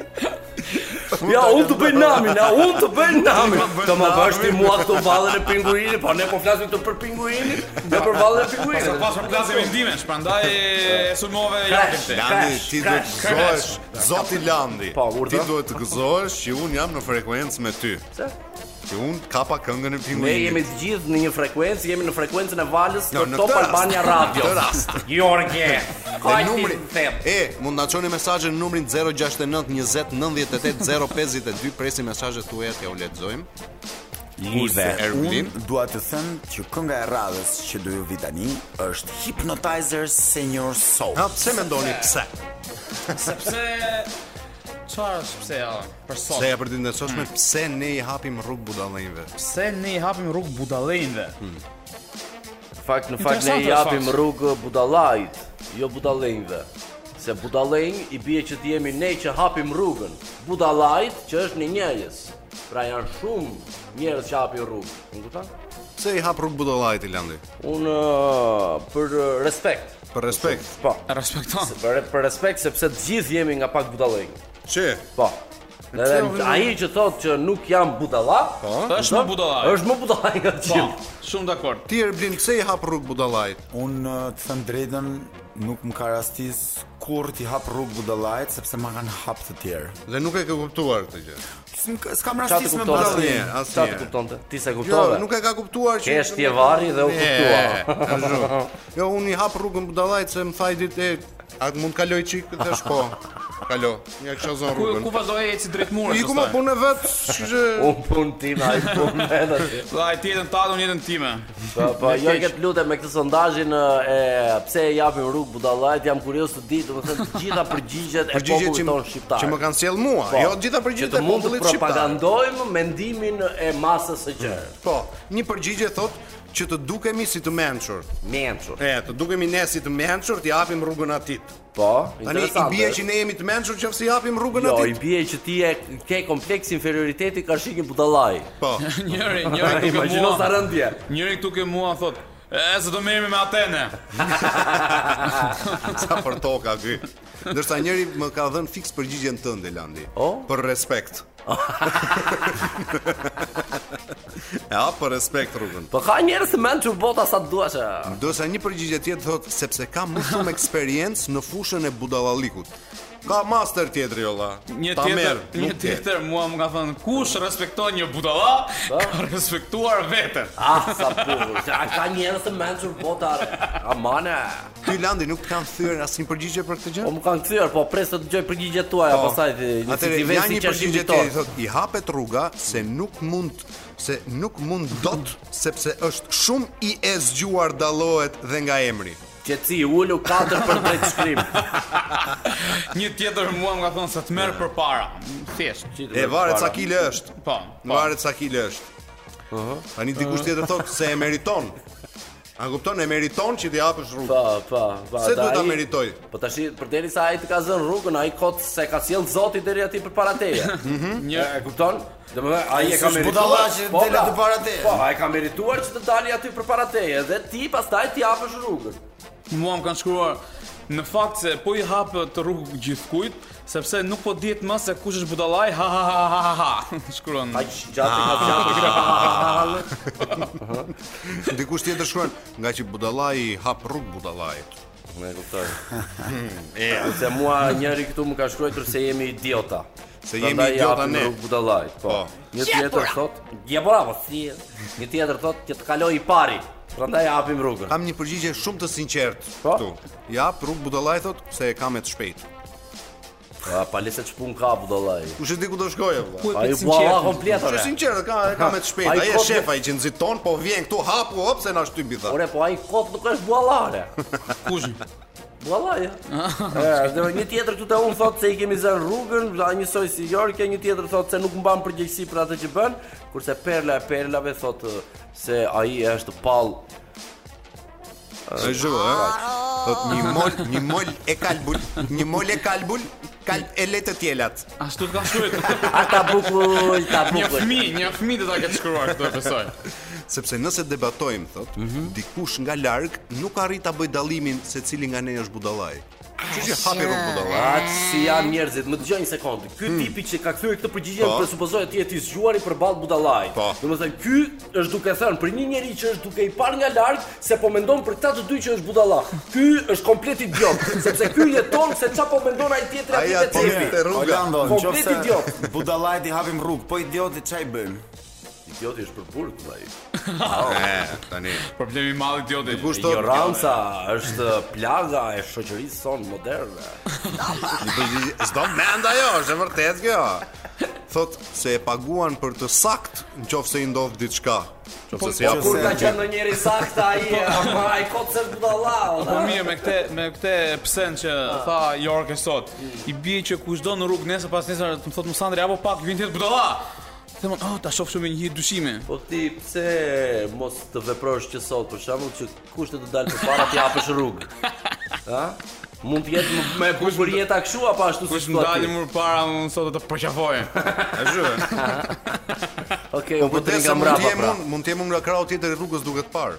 Ja, unë të bëj namin, ja, unë të bëj namin.
bësh
Të më bësh ti
namin.
mua këto vallën e pinguinit, po ne po flasim këtu për pinguinin, ne për vallën e
Sa
pinguinit.
pas po për plasë vendime, shprandaj e sulmove
Crash.
jakën te.
Landi
Crash,
ti duhet
crash,
të gëzohesh, zoti Landi.
Po, urdhë.
Ti duhet të gëzohesh që un jam në frekuencë me ty.
Pse?
Që un kapa këngën e
Ne
pinguinit.
jemi të gjithë në një frekuencë, jemi në frekuencën e valës
Jo,
për
në
Top
këtë rast.
Albania Radio.
Në këtë rast.
Jo, Jorge,
Dhe
ka
numri,
numri them.
e, mund na çoni mesazhe në numrin 069 20 98 052, presim mesazhet tuaja t'ja u lexojmë.
Live.
Ervin,
Unë dua të them që kënga e radhës që do ju vi tani është Hypnotizer Senior Soul.
ha pse mendoni pse?
Sepse çfarë është pse ja, për
Se
sot?
ja për ditën e sotme pse ne i hapim rrugë budallënjve?
Pse ne i hapim rrugë budallënve?
Fakt në fakt ne
Interesant
i
është,
japim
fakt.
rrugë budallajt, jo budallënjve. Se budallënj i bie që të jemi ne që hapim rrugën. Budallajt që është një njerëz. Pra janë shumë njerëz që hapin rrugë. E kupton?
Pse i hap rrugë budollajit i landi?
Unë ë, uh, për ë, respekt.
Për respekt.
Po.
Respekton.
Për, për respekt sepse të gjithë jemi nga pak budallëk.
Çe?
Po. Edhe
pse-
ai që thotë që nuk jam budalla,
Po? Është më budallaj.
Është më budalla jo, nga të
Po,
gjithë.
shumë dakord.
Ti Erblin, pse i hap rrugë budollajit?
Unë uh, të thëmë drejtën nuk më ka rastis kur t'i hap rrugë budallajt sepse ma kanë hap të tjerë.
Dhe nuk e ke kuptuar këtë gjë.
S'm- S'kam
Çfarë të
rastis me
kupton?
budallin.
Asnjëherë,
Sa të
asnjëherë.
kuptonte? Ti se
Jo,
kuptove?
nuk e ka kuptuar që
Ke shtje varri dhe u
E,
kuptua.
ashtu. Jo, unë i hap rrugën budallajt se më thaj ditë e a të mund kaloj çik dhe shpo. Kalo, ja kisha zonë
Ku ku
rrugën.
vazhdoi eci drejt murit.
Iku më
pastaj?
punë vet, shqe.
Unë punë tim, ai punë edhe ti.
Dhe ai tjetën tatë, unë jetën time.
Po, po, jo e këtë lutem me këtë sondazhin e pse e japim rrugë budallajt, jam kurioz të di, domethënë të gjitha përgjigjet e
Përgjigje që
popullit tonë shqiptar.
që më kanë sjell mua,
Po,
jo të gjitha
që
përgjigjet
të
e
mund të
popullit shqiptar.
propagandojmë mendimin e masës së gjerë.
Po, një përgjigje thotë që të dukemi si të mençur.
Mençur.
E, të dukemi ne si të mençur, t'i japim rrugën atit.
Po,
Tani i
interesante.
bie që ne jemi të mençur që si japim rrugën
Jo, i
atit.
bie që ti e ke kompleks inferioriteti ka shikin budallaj.
Po.
Njëri, njëri këtu ke
Imagjino sa
mua.
rëndje.
Njëri këtu ke mua thot, e se do merremi me Atene.
Sa për toka ky. Ndërsa njëri më ka dhënë fiks përgjigjen tënde Landi.
O?
Për respekt. ja, për respekt rrugën.
Po ka njerëz të mençur bota sa të duash. e.
Ndërsa një përgjigje tjetër thotë sepse ka më shumë eksperiencë në fushën e budallallikut. Ka master tjetri olla.
Një
Ta
tjetër,
merr,
një
nuk ke.
tjetër mua më ka thënë, kush respekton një budalla, ka respektuar veten.
Ah, sa bukur. Ka ka njerëz të mençur bota. re. Amane.
Ty Landi nuk të kanë thyer asnjë përgjigje për këtë gjë?
Po më kanë kthyer, po pres të dëgjoj përgjigjet tuaja
Po.
pastaj ti një
Atëre,
si
janë
vesi
një
që
përgjigje
është
tjetër,
ton.
thotë, i hapet rruga se nuk mund se nuk mund dot sepse është shumë i e zgjuar dallohet dhe nga emri.
Qetësi ulu 4 për drejt shkrim.
Një tjetër mua më ka thënë se të merr për para. Thjesht.
E varet sa kile është.
Po. po.
Varet sa kile është. Tani dikush tjetër thotë se e meriton. A kupton e meriton që t'i hapësh rrugën.
Po, po, po.
Se
da
duhet ta
ai-
meritoj?
Po tash përderisa ai të ka zënë rrugën, ai kot se ka sjell Zoti deri aty përpara teje.
Një
E kupton? Domethënë ai e ka
s'është
merituar.
budalla që del
pra.
aty para teje.
Po, ai ka merituar që të dali aty përpara teje dhe ti pastaj ti hapësh rrugën.
mua më kanë shkruar Në fakt se po i hap të rrugë gjithkujt, sepse nuk po dihet më se kush është budallaj. Ha ha ha ha ha. ha. Shkruan.
Ai gjatë ka
Ah.
gjatë.
Dikush tjetër shkruan nga që budallai i hap rrugë budallait.
Më e kuptoj. E, se mua njëri këtu më ka shkruar se jemi idiota.
Se jemi
Prandaj
idiota
japim
ne.
rrugë budallaj. Po.
Po.
Një tjetër thot, "Gjebora po si." e." Një tjetër thot, "Që të kaloj i pari." Prandaj hapim rrugën.
Kam një përgjigje shumë të sinqertë
Po?
këtu. I hap rrugë budallai thotë se e kam e të shpejt.
Pa, pa lese çpun ka budallaj.
Kush e di ku do shkojë vëlla?
Ku e
Ai
prit
budalla
sinqert?
komplet.
Që
ore.
sinqertë ka e ka me të shpejtë.
Ai
Ai
kot-
është shefa i që nxiton, po vjen këtu hapu hop se na shtypi tha.
Ore, po ai kot nuk është budallare.
Kush?
Vallaj. Ë, dhe një tjetër këtu te un thotë se i kemi zënë rrugën, a njësoj si Jorke, një tjetër thotë se nuk mban përgjegjësi për atë që bën, kurse Perla e Perlave thotë ë, se ai është pall.
Ai zhu, ë. Thot një mol, një mol e kalbul, një mol e kalbul, kalb e le të tjelat.
Ashtu të ka shkruar.
Ata bukull, ta
Një
bukull.
fëmijë, një fëmijë do ta ketë shkruar këtë besoj.
Sepse nëse debatojmë thot, dikush nga larg nuk arrit ta bëj dallimin se cili nga ne është budallaj. Kështu që hapi rrugë budallaj.
Atë si janë njerëzit, më dëgjoj një sekond. Ky tipi që ka kthyer këtë përgjigje
Hmm. Po.
presupozohet ti je i zgjuari përballë budallaj.
Po.
Domethënë ky është duke thënë për një njerëz që është duke i parë nga larg se po mendon për këta të dy që është budalla. Ky është komplet idiot, sepse ky jeton se çfarë po mendon ai tjetri
Ai po
aty te
aty
tipi.
te rruga.
Orlando, në
Komplet
qoftë
idiot.
se budallajt i hapim rrugë, po idioti çaj bëjmë?
Idioti është për burg vllai.
E, tani.
Problemi i madh idioti.
Kush thot?
Ignoranca është plaga e shoqërisë son moderne.
Një përgjigje, s'do mend ajo, është e vërtet kjo. Thot se e paguan për të sakt nëse i ndodh diçka. Nëse si hap
po,
Kur
Se-
ka qenë ndonjëri saktë ai,
Po.
ama ai kot se është budalla.
Po mirë me këtë me këtë psen që tha Jorke sot. I bie që kushdo në rrugë nesër pas nesër të më thotë Musandri apo pak vjen tjetër budalla. Them, "Oh, ta shoh shumë një dyshime."
Po ti pse mos të veprosh që sot për shembull që kushtet të dalë përpara ti hapësh rrugë. Ha? Mund të jetë më- me bukur jeta kështu apo ashtu si
Kush
thua ti?
ndali më para unë sot do të përqafoj. Ashtu.
Okej, u
Po
bëtri
desa
nga
mund të
mbrapa
jem
pra.
unë, mund të jem unë nga krau tjetër i rrugës duket parë.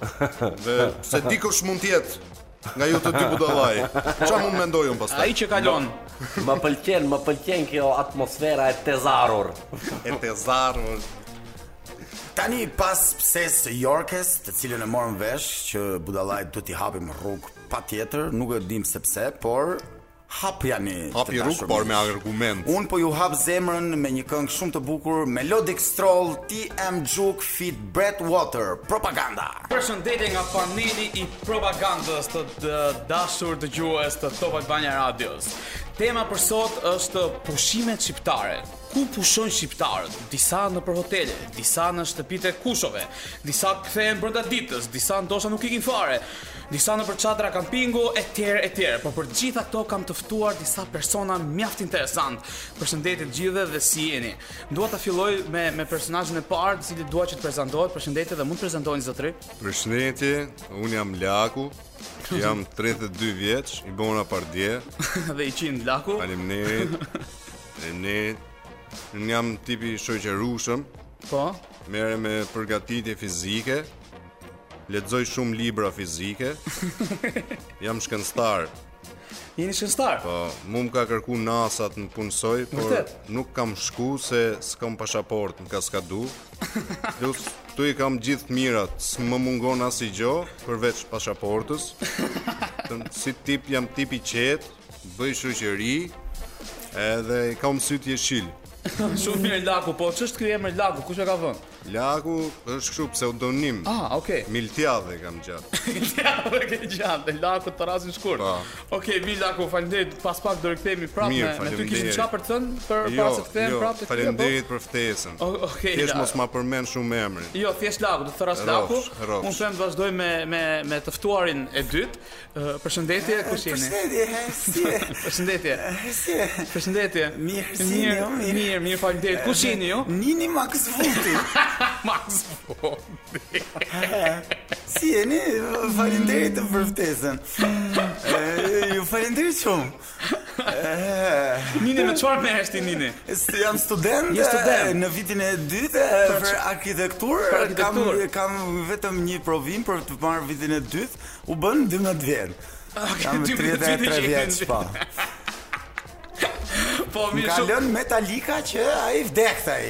Dhe se dikush mund të jetë nga ju të dy budallaj. Çfarë mund mendoj unë pastaj?
Ai që kalon.
Më pëlqen, më pëlqen kjo atmosfera e tezarur.
E te zarmë.
Tani pas pses së Yorkes, të cilën e morëm vesh që budallajt duhet i hapim rrugë patjetër, nuk e dim se pse, por hap jani. të
Hapi rrugë
dashur
por
miq.
me argument.
Un po ju hap zemrën me një këngë shumë të bukur, Melodic Stroll TM Juke Fit Brett Water, Propaganda.
Përshëndetje nga paneli i propagandës të dë- dashur dëgjues të Top Albania Radios. Tema për sot është pushimet shqiptare. Ku pushojnë shqiptarët? Disa në për hotele, disa në shtëpitë e kushove, disa kthehen brenda ditës, disa ndoshta nuk ikin fare, disa në për çadra kampingu etj etj. Por për gjitha këto kam të ftuar disa persona mjaft interesant. Përshëndetje të gjithëve dhe si jeni. Dua ta filloj me me personazhin e parë, i cili dua që të prezantohet. Përshëndetje dhe mund të prezantoheni zotëri.
Përshëndetje, un jam Laku. Jam 32 vjeç, i bona pardje.
dhe i qind laku.
Faleminderit. Dhe ne unë jam tipi shoqërushëm,
Po.
merre me përgatitje fizike. Lexoj shumë libra fizike. Jam shkencëtar.
Jeni shkencëtar.
Po, mu më ka kërku NASA të më punësoj, por
Vërtet?
nuk kam shku se s'kam pashaport, më ka skadu. Plus, tu i kam gjithë mirat, s'më mungon as i gjo, përveç pashaportës. Të- si tip jam tip i qetë, bëj shoqëri, edhe i kam syt jeshil.
Shumë mirë laku, po ç'është ky emër laku? Kush e ka vënë?
Laku është kështu pseudonim.
Ah, okay.
Miltjadhe kam gjatë.
Ja, dhe ke gjatë, laku të rasin shkurt.
Po.
Okej, vi laku, faleminderit. Pas pak do rikthehemi prapë.
Mirë,
me- Me ty kishin
faleminderit. Jo,
çfarë për të thënë për para se të kthehemi prapë tek kjo, po?
faleminderit për ftesën.
O- Okej.
Thjesht
laku.
mos ma përmend shumë emrin.
Jo, thjesht laku, do të thras laku.
Rrofsh, rrofsh.
Unë them të vazhdoj me me me të ftuarin e dytë. Ë, Ah, Përshëndetje, Eh, kush jeni? Përshëndetje. Përshëndetje.
Mirë, si jeni,
mirë, Eh,
jo, mirë.
mirë, mirë, faleminderit. Kush jeni jo? ju?
Nini Max Vulti.
Max. Po.
Si jeni? Faleminderit për ftesën. E, Ju falenderoj shumë.
Nini me çfarë merresh ti Nini?
S- Jam student,
Je student. Pra
e, në vitin e dytë e, për arkitekturë.
Për arkitekturë.
Kam, kam vetëm një provim për të marrë vitin e dytë, u bën 12 vjet. Kam
12 vjetë
33
që
vjeç,
jeni.
po.
Po
Më
mirë
ka
shumë.
lënë Metallica që ai vdekta ai.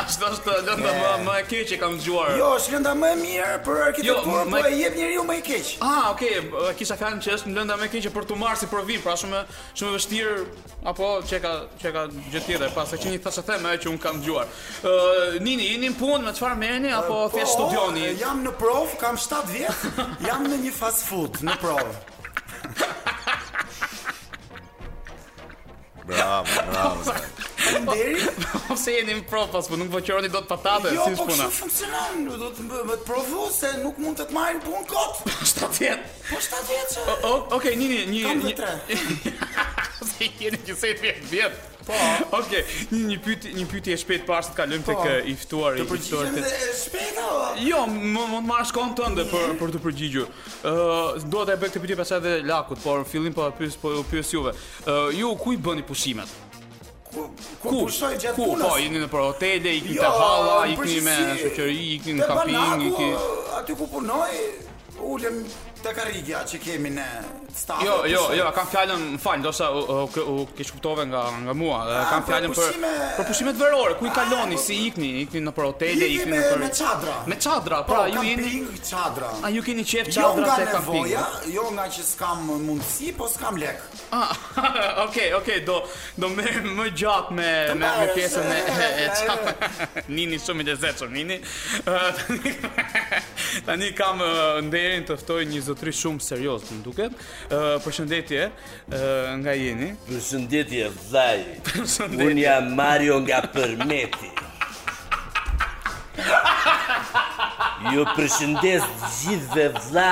Ashtu është lënda më më e keq që kam dëgjuar.
Eh. Jo, është lënda më e mirë për arkitekturë,
Jo, më-
po e jep njeriu më i keq.
Ah, okay, e kisha fjalën që është në lënda më e keq që për tu marrë si provim, pra shumë shumë e vështirë apo që ka që ka gjë tjetër, pas e që një thashë them ajo që un kam dëgjuar. Ë, nini, jeni në punë me çfarë merreni apo thjesht
Po,
studioni?
Jam në prov, kam 7 vjet. Jam në një fast food në prov.
Bravo, bravo.
Po,
Faleminderit.
Pse jeni në provë pas, po nuk voqëroni dot patate,
Jo,
si
po
puna.
kështu funksionon, do të më më të provu se nuk mund të të marrin punë kot.
70.
Po 7 vjeç.
O- Okej, nini, një
Kam
një-
dhe tre.
Se jeni që se vjet vjet. Po. Okej, një një pyetje, një pyetje e shpejt para se të kalojmë
Po.
tek e, i ftuari, i
Përgjigjem
ftuarit.
dhe shpejt o.
Jo, më mund të marrësh kohën tënde për për të përgjigjur. Ë, dua ta bëj këtë pyetje pastaj edhe Lakut, por në fillim po e pyes po ju pyes juve. Ë, ju ku i bëni pushimet?
Ku ku pushoj Po gjatë
ku?
punës?
Po, jeni nëpër hotele, ikni
Jo,
te halla,
në
ikni me
përgjithësi,
shoqëri, ikni
te
në kamping,
banaku,
ikni.
Aty ku punoj, ulem te karrigja që kemi ne stafë.
Jo, jo, jo, kam fjalën, më fal, ndoshta u, u, u, u keq kuptove nga nga mua. Ë, kam
Ah, për
fjalën për
pushime-
për pushimet verore, ku i kaloni,
po,
si ikni, ikni nëpër hotele,
Jemi
ikni
me, me
nëpër
çadra.
Me çadra,
Po,
pra ju jeni
kamping, çadra.
A ju keni qef
Jo nga
çadra te kampingu?
nevoja, jo nga që s'kam mundësi, po s'kam lek.
Ah, okay, okay, do do merrem më gjatë me me, me
marrësh,
pjesën e e,
e,
e çfarë. Nini shumë i lezetshëm, Nini. Ë, tani- Tani kam ë, nderin të ftoj një zotëri shumë serioz, më duket. Ë, Përshëndetje, ë, nga jeni.
Përshëndetje dhaj.
Përshëndetje.
Unë jam Mario nga Përmeti. Ju përshëndes gjithë dhe vlla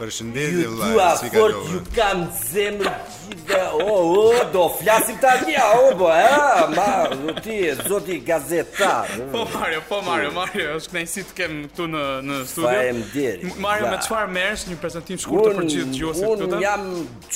Përshëndetje
Ju
vllai,
dua
si ka
fort, ju kam zemër gjithë O, o, do flasim ta kja, o, bo, e, ma, u ti, zoti gazetar
Po Mario, po Mario, Mario, është kënaqësi të kem këtu në në studio.
Faleminderit.
M- Mario, me
Vla.
çfarë merresh një prezantim shkurtër për gjithë dëgjuesit këtu?
Unë
ta?
jam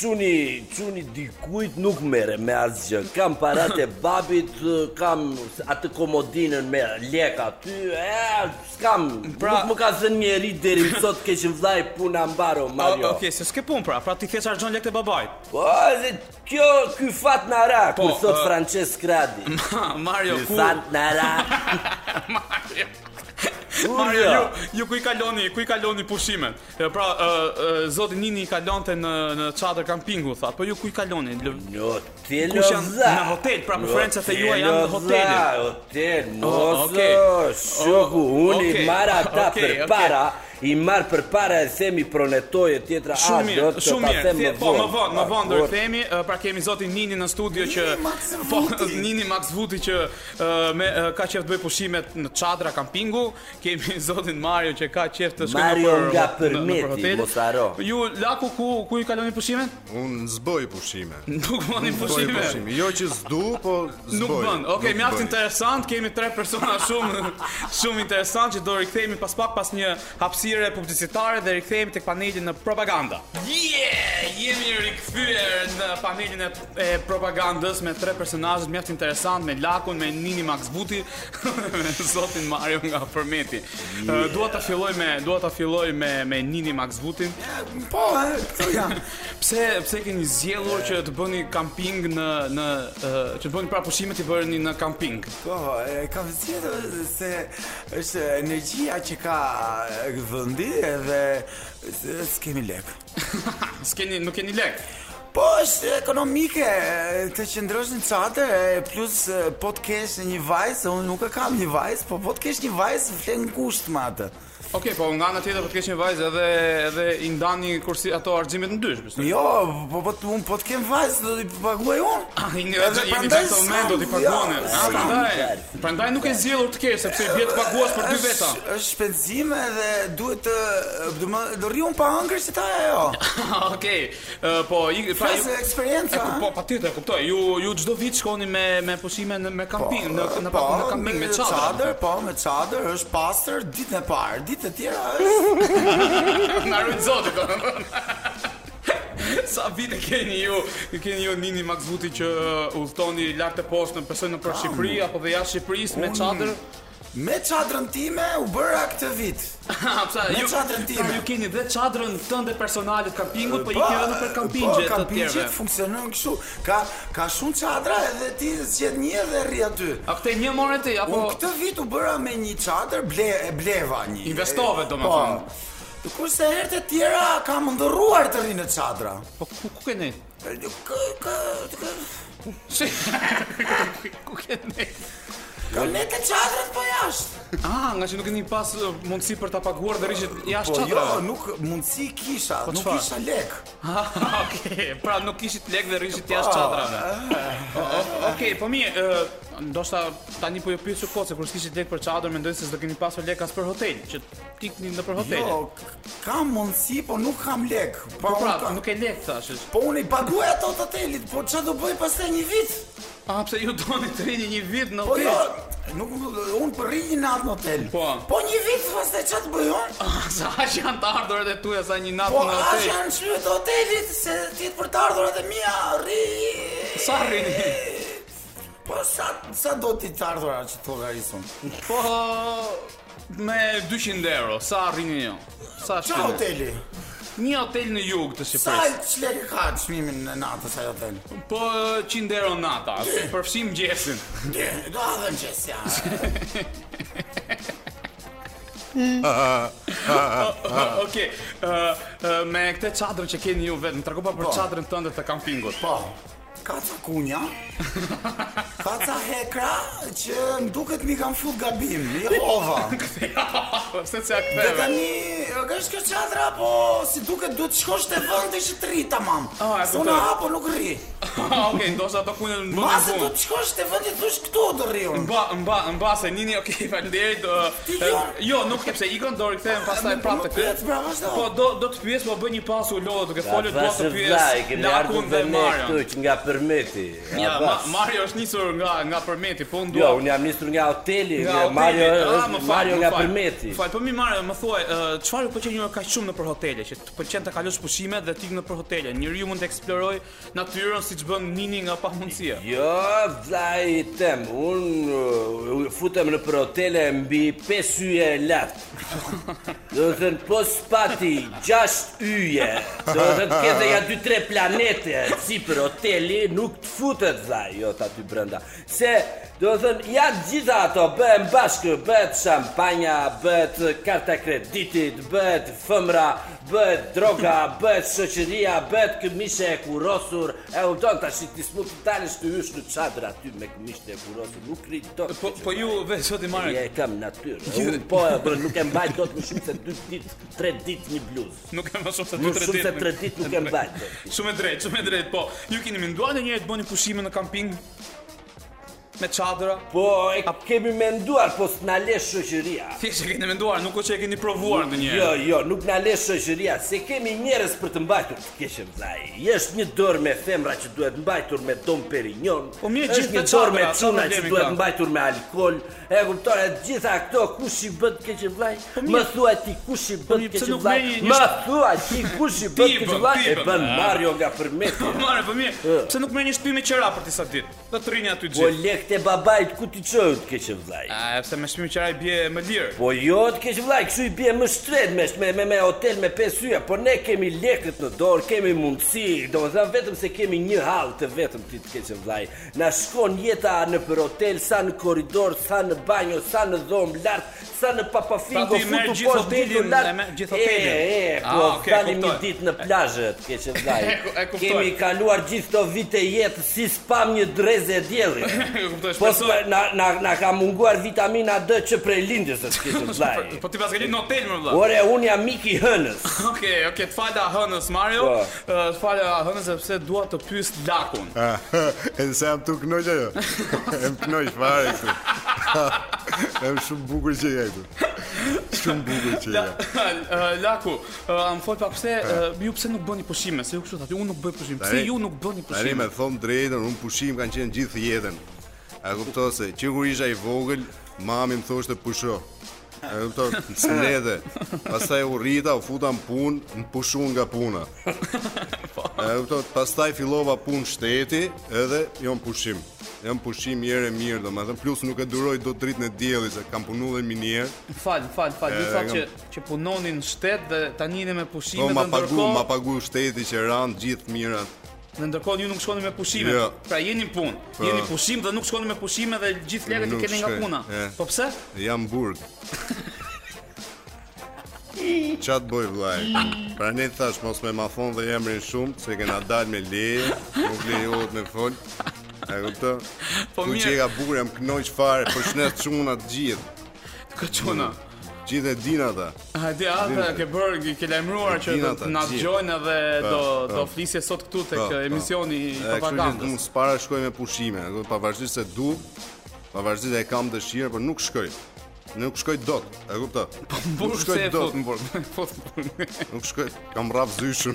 çuni, çuni dikujt nuk merre me asgjë. Kam parat e babit, kam atë komodinën me lek aty. E, s'kam.
Pra-
nuk më ka zënë njeri deri më sot keqin vllai puna mbaro Mario.
O- Okej, Ah, se s'ke punë pra, pra ti thjesht harxhon lekët e babait.
Po, dhe kjo ky fat na ra,
Po,
kur sot
ë,
Francesc Radi.
Ha, Mario,
Ky
ku
fat na ra.
Mario.
Kur
Mario,
jo?
ju, ju ku i kaloni, ku i kaloni pushimet? E, Pra, ë, ë, zoti Nini i kalonte në në çadër kampingu, tha, po ju ku i kaloni? Lë-
Në hotel
Kush janë
Oza.
në hotel, pra preferencat e juaja
Hotel
janë në
Oza,
hotele.
Hotel,
Oh,
mos,
okay.
shoku,
Oh,
unë i
okay,
marr ata
okay,
për
okay.
para, i marr për para e themi pronetoj e tjetra a,
Shumë
do
mirë,
të
shumë
ta
mirë.
them
Thje- Po, më vonë, më
Ah,
vonë do
por-
të themi, ë, pra kemi zotin Nini në studio që
Max
po
Vuti.
Nini Max Vuti që ë, me ë, ka qef të bëj pushimet në çadra kampingu, kemi zotin Mario që ka qef të shkojë
Mario
nëpër-
nga
në-
Përmeti,
nëpër hotel.
mos haro.
Ju laku ku ku i kaloni pushimet?
Unë zboj pushime.
Nuk bëni
Zboj
pushime.
pushime. Jo që s'du, po zboj.
Nuk bën. Okej,
Nuk
mjaft
bëj.
interesant, kemi tre persona shumë shumë interesant që do rikthehemi pas pak pas një hapësire publicitare dhe rikthehemi tek paneli në propaganda. Yeah, jemi rikthyer në panelin e, e propagandës me tre personazhe mjaft interesant, me Lakun, me Nini Max Buti, me zotin Mario nga Përmeti. Yeah. Dua ta filloj me dua ta filloj me me Nini Max Butin.
Po, e, këtu jam.
Pse pse keni zgjedhur që të bëni kamping në në eh, që të bëni pra pushimet i bëni në kamping?
Po, e, kam zgjedhur se është energjia që ka e, vendi edhe s- s'kemi lek.
S'keni nuk keni lek.
Po, është ekonomike, e, të qëndrosh në çadër, e, plus e, po të kesh një vajzë, unë nuk e kam një vajzë, po po të kesh një vajzë flen gusht me atë.
Okej, po nga ana tjetër po të kesh një vajzë edhe edhe i ndani kursi ato argjimet në dysh, besoj.
Jo, po po të- unë po të kem vajzë, do t'i paguaj unë.
Ah, i një
Edhe
edhe jemi në
prandaj
këtë moment do t'i
s'kam,
paguani.
jo,
Ah,
s'kam.
prandaj. Prandaj nuk e zgjedhur të kesh sepse bie të paguash për dy
Është-
veta.
Është shpenzime dhe duhet të do më do rri unë pa hëngër si ta jo. ajo.
Okej. eh, po i pra
Pas
ju
eksperjenca.
E, ku- po patjetër, e kuptoj. Ju ju çdo vit shkoni me me pushime në me kamping, në në
po,
në kamping me
çadër,
çadër.
po me çadër, është pastër ditën e parë, ditët e tjera është
Na ruaj zoti domethënë. Sa vite keni ju, keni ju Nini Maxvuti që uh, udhtoni lart e poshtë në persona për Shqipëri apo dhe jashtë Shqipërisë me
Unë-
çadër?
me çadrën time u bëra këtë vit.
Ha, pse
Me çadrën time.
pra, Ju keni dhe çadrën tënde personale të kampingut, po i
Po,
keni edhe për
po,
kampingje të tjerëve.
kampingjet funksionojnë kështu. Ka ka shumë çadra edhe ti zgjedh një dhe rri aty.
A këtë një morën ti apo
Unë këtë vit u bëra me një çadër, ble, e bleva një.
Investove,
E,
domethënë.
Po. Kurse herët e tjera kam ndërruar të rinë çadra.
po ku ku keni?
E, Kë kë kë
Shi- ku keni?
Ka letë çadrat po jashtë.
Ah, nga që nuk keni pas uh, mundësi për ta paguar dhe rishit jashtë
Po jo,
çadrës.
nuk mundsi kisha, nuk
Po çfarë?
kisha lek.
Ah, Okej, pra nuk kishit lek dhe rishit jashtë çadrave.
eh,
O- o- Okej, po mirë, ë, ndoshta tani po ju pyes ju kocë kur s'kishit lek për çadër, mendoj se s'do keni pasur lek as për hotel, që tikni në për hotel.
Jo, k- kam mundsi, po nuk kam lek. Po
po
unë
pra,
kam-
nuk e lek thash.
Po unë i paguaj ato të hotelit, po ç'a do bëj pastaj një vit?
A pse ju doni të rini një vit në
Po
hotel?
jo, nuk unë për rri një natë në hotel.
Po.
Po një vit pastaj ç'a të bëj unë?
Sa aq janë të ardhurat e tua sa një natë
Po
në
aq
hotel?
janë shlyet e hotelit se ti për të ardhurat e mia rri.
Sa rrini?
Po sa sa do ti të ardhurat që të llogarisun?
Po me 200 euro, sa arrini ju? Sa
Ç'a
shkënë?
hoteli?
Një hotel në jug të
Sa
Shqipërisë.
çlek ka çmimin në natës ai hotel?
Po 100 euro nata, përfshim gjesin.
Dhe, do adhem që s'ja.
Okej, Po. ë ë, me këtë çadrën që keni ju vetëm, trego pa për çadrën tënde të kampingut.
Po, ka ca kunja, ka ca hekra që më duket mi kanë fut gabim, i hova.
Po, Pse se
Dhe
aktheve?
tani, është kjo qadra, po si duket duhet shkosh te vëndi që të rri tamam.
Ah, e
Se unë
kuptoj. Po,
hapo nuk rri.
Ah, Okej, ndoshta ato kunë në
Ma
bëndin
se
punë.
duhet shkosh te vëndi të thush këtu do rri unë.
Mba, mba, mba, se nini, okej, faleminderit.
Ti
ë,
jo.
ë, Jo, nuk e pse ikon dorë kthehem pastaj
Nuk-
prapë
nuk
të këtë.
pyet, pra, vazhdo.
Po do do të pyes, po bëj një pas u lodh, duke folur do të
vllai,
pyes.
kemi ardhur
Lakun
dhe
dhe
ne këtu
Marion.
që nga përmeti.
Ja,
Abbas.
ma, Mario është nisur nga nga përmeti, po unë
Jo,
dua
unë jam nisur nga hoteli,
Nga
nga
hoteli.
Mario,
Ah,
është-
më fal,
Mario
më
nga
fal.
përmeti.
Më Fal, po mi Mario, më thuaj, ë, çfarë ju pëlqen njëra kaq shumë nëpër hotele, që të pëlqen të kalosh pushime dhe të ikë nëpër hotele. Njeriu mund të eksploroj natyrën siç bën Nini nga pamundësia.
Jo, vllai i tem, unë uh, u futem në për hotele mbi 5 yje e lart. Do të thënë po spati 6 yje. Do të thënë këtë ja 2-3 planete si për hoteli nuk të futet vllai jot aty brenda. Se do të thënë ja të gjitha ato bëhen bashkë, bëhet shampanja, bëhet karta kreditit, bëhet fëmra, bëhet droga, bëhet shoqëria, bëhet këmishe e kurosur. E kupton tash ti smut talesh të hysh në çadër aty me këmishë e kurosur, nuk rrit dot.
Po po ju ve zoti Mario,
Ja e kam natyrë. Unë po e bën, nuk e mbaj dot më shumë se 2 ditë, 3 ditë një bluzë.
nuk e më shumë se
Më
2-3
shumë
ditë.
se 3 ditë nuk e mbaj dot.
Shumë e drejtë, shumë e drejtë, po. Ju keni menduar ndonjëherë të bëni pushime në kamping? Me çadra?
Po e kemi menduar, po s'na le shoqëria.
Thjesht e keni menduar, nuk është që e keni provuar ndonjëherë.
Jo, jo, nuk na le shoqëria, se kemi njerëz për të mbajtur të keqen vllai. Është një dorë me femra që duhet mbajtur me Dom Perignon.
Po mirë,
është
gjithë
një
të
dorë me
çadra, sa
çuna që
problemi
duhet
ka?
mbajtur me alkool. E kupton, e gjitha këto kush i bën të keqen vllai? Më thuaj ti kush i bën
Po
të
mirë, pse
keqen
nuk
vllai?
merri një-
Më thuaj ti kush i bën të
Ti i
keqen
bën,
vllai?
ti i
E
bën,
bën
a?
Mario nga përmeti.
Mare, po mirë,
Ë.
pse nuk merrni shtëpi me qera për disa ditë? Do të rini aty
Po
gjithë.
lekët e babait ku ti çojë të keqen vllai?
A, pse me shtëpi me qera i bie më lirë.
Po jo të keq vllaj, kështu i bie më shtret me me me, me hotel me pesë yje, po ne kemi lekët në dorë, kemi mundësi, domethënë vetëm se kemi një hall të vetëm ti të keq vllaj. Na shkon jeta në për hotel, sa në korridor, sa në banjo, sa në dhomë lart, sa në papafingo,
Pra ti merr gjithë hotelin,
ditur lart.
e merr gjithë hotelin.
E, e, po
Ah, okay,
dalim një
kuptoj.
ditë në plazhe të keq vllaj.
E ku- e kuptoj.
Kemi kaluar gjithë këto vite jetë si spam një dreze e diellit.
E kuptoj,
Po
shpresoj.
s'pa- na na na ka munguar vitamina D që prej lindjes të keq vllaj.
Po ti pas ke qenë në hotel më vëlla.
Ore, unë jam Miki Hënës.
Okej, okej, të falja hënës Mario.
Po.
Ë, Të falja hënës sepse dua të pyes lakun.
Ah, Edhe se jam tu kënoj ajo. Em kënoj fare këtu. Em shumë bukur që je këtu. Shumë bukur që je.
Ë, Eh, Laku, ë, a më fol pak pse ë, ju pse nuk bëni pushime? Se ju kështu thatë, unë nuk bëj pushim. Pse
Tani-
ju nuk bëni
Tani
pushime?
me thom drejtën, un pushim kanë qenë gjithë jetën. A kupton se që kur isha i vogël, mami më thoshte pusho. A kupton, s'ledhe. Pastaj u rrita, u futa në punë, më pushun nga puna.
Po.
A kupton, pastaj fillova punë shteti, edhe jo në pushim. Jam pushim herë e mirë, domethënë plus nuk e duroj dot dritën e diellit se kam punuar dhe minier.
Fal, fal, fal. Ju
E,
thatë që
Eh, kam-
që punonin në shtet dhe tani jeni me pushime
Po
dhe
ma pagu, ma
ndërkohë
pagu shteti që ran gjithë mirat.
dhe ndërkohë ju nuk shkoni me pushime.
Jo. Po.
Pra jeni në punë, jeni pushim dhe nuk shkoni me pushime dhe gjithë lekët i
Nuk
keni nga
shkoj, Eh.
puna.
e.
Po pse?
Jam burg. Çat boj vllaj. Pra ne thash mos me ma thon dhe emrin shumë se kena dal me leje, nuk lejohet me fol. E kupton?
Po
Tu
mirë.
që ka bukur jam kënoj fare, po shnes çuna të gjithë.
Kaçona.
Mm. Gjithë e din ata.
Hajde ata
Dinate.
ke bër ke lajmëruar që do
Dinata,
të na
gjithë.
dëgjojnë edhe do
po.
do flisje sot këtu tek
Po, po.
emisioni i
E, Kështu që
propagandës.
unë s'para shkoj me pushime, e kupton? pavarësisht se du, pavarësisht se e kam dëshirë, por nuk shkoj. Nuk shkoj dot, e kupton?
Po
Nuk
pse
shkoj
e
dot.
thot në burg? Po thot.
Nuk shkoj, kam rraf zyshën.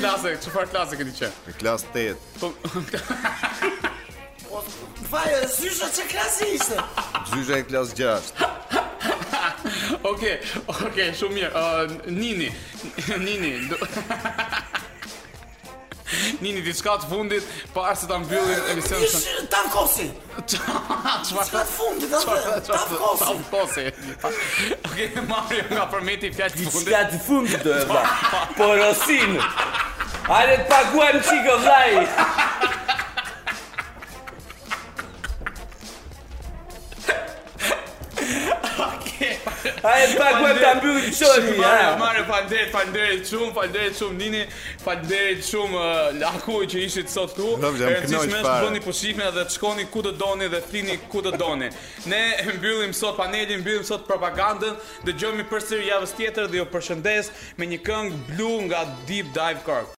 Klase, çfarë klase keni qenë?
Në klasë 8.
Po
Vaje, sysha që klasi ishte.
Zyshë e klasë 6.
Okej, okej, shumë mirë. Ë, Nini, Nini. do- Nini diçka të fundit, para se ta mbyllim emisionin.
Ish tavkosi. Çka
Çfarë?
të fundit atë? Tavkosi.
Tavkosi. Okej, Mario nga përmeti fjalë të fundit.
Diçka të fundit do e vlla. Porosin. Hajde të paguajmë çiko vllai. A e pak web ta mbyllim shoqë
Mare,
para.
mare, falderit, falderit shumë, falderit shumë Nini, falderit shumë uh, Laku që ishit sot këtu.
Lëm, jam
E rëndësishme
kënaq
është
fare.
bëni pushime dhe të shkoni ku të doni dhe flini ku të doni. Ne mbyllim sot panelin, mbyllim sot propagandën, dëgjojmë përsëri javës tjetër dhe ju përshëndes me një këngë blue nga Deep Dive Corp.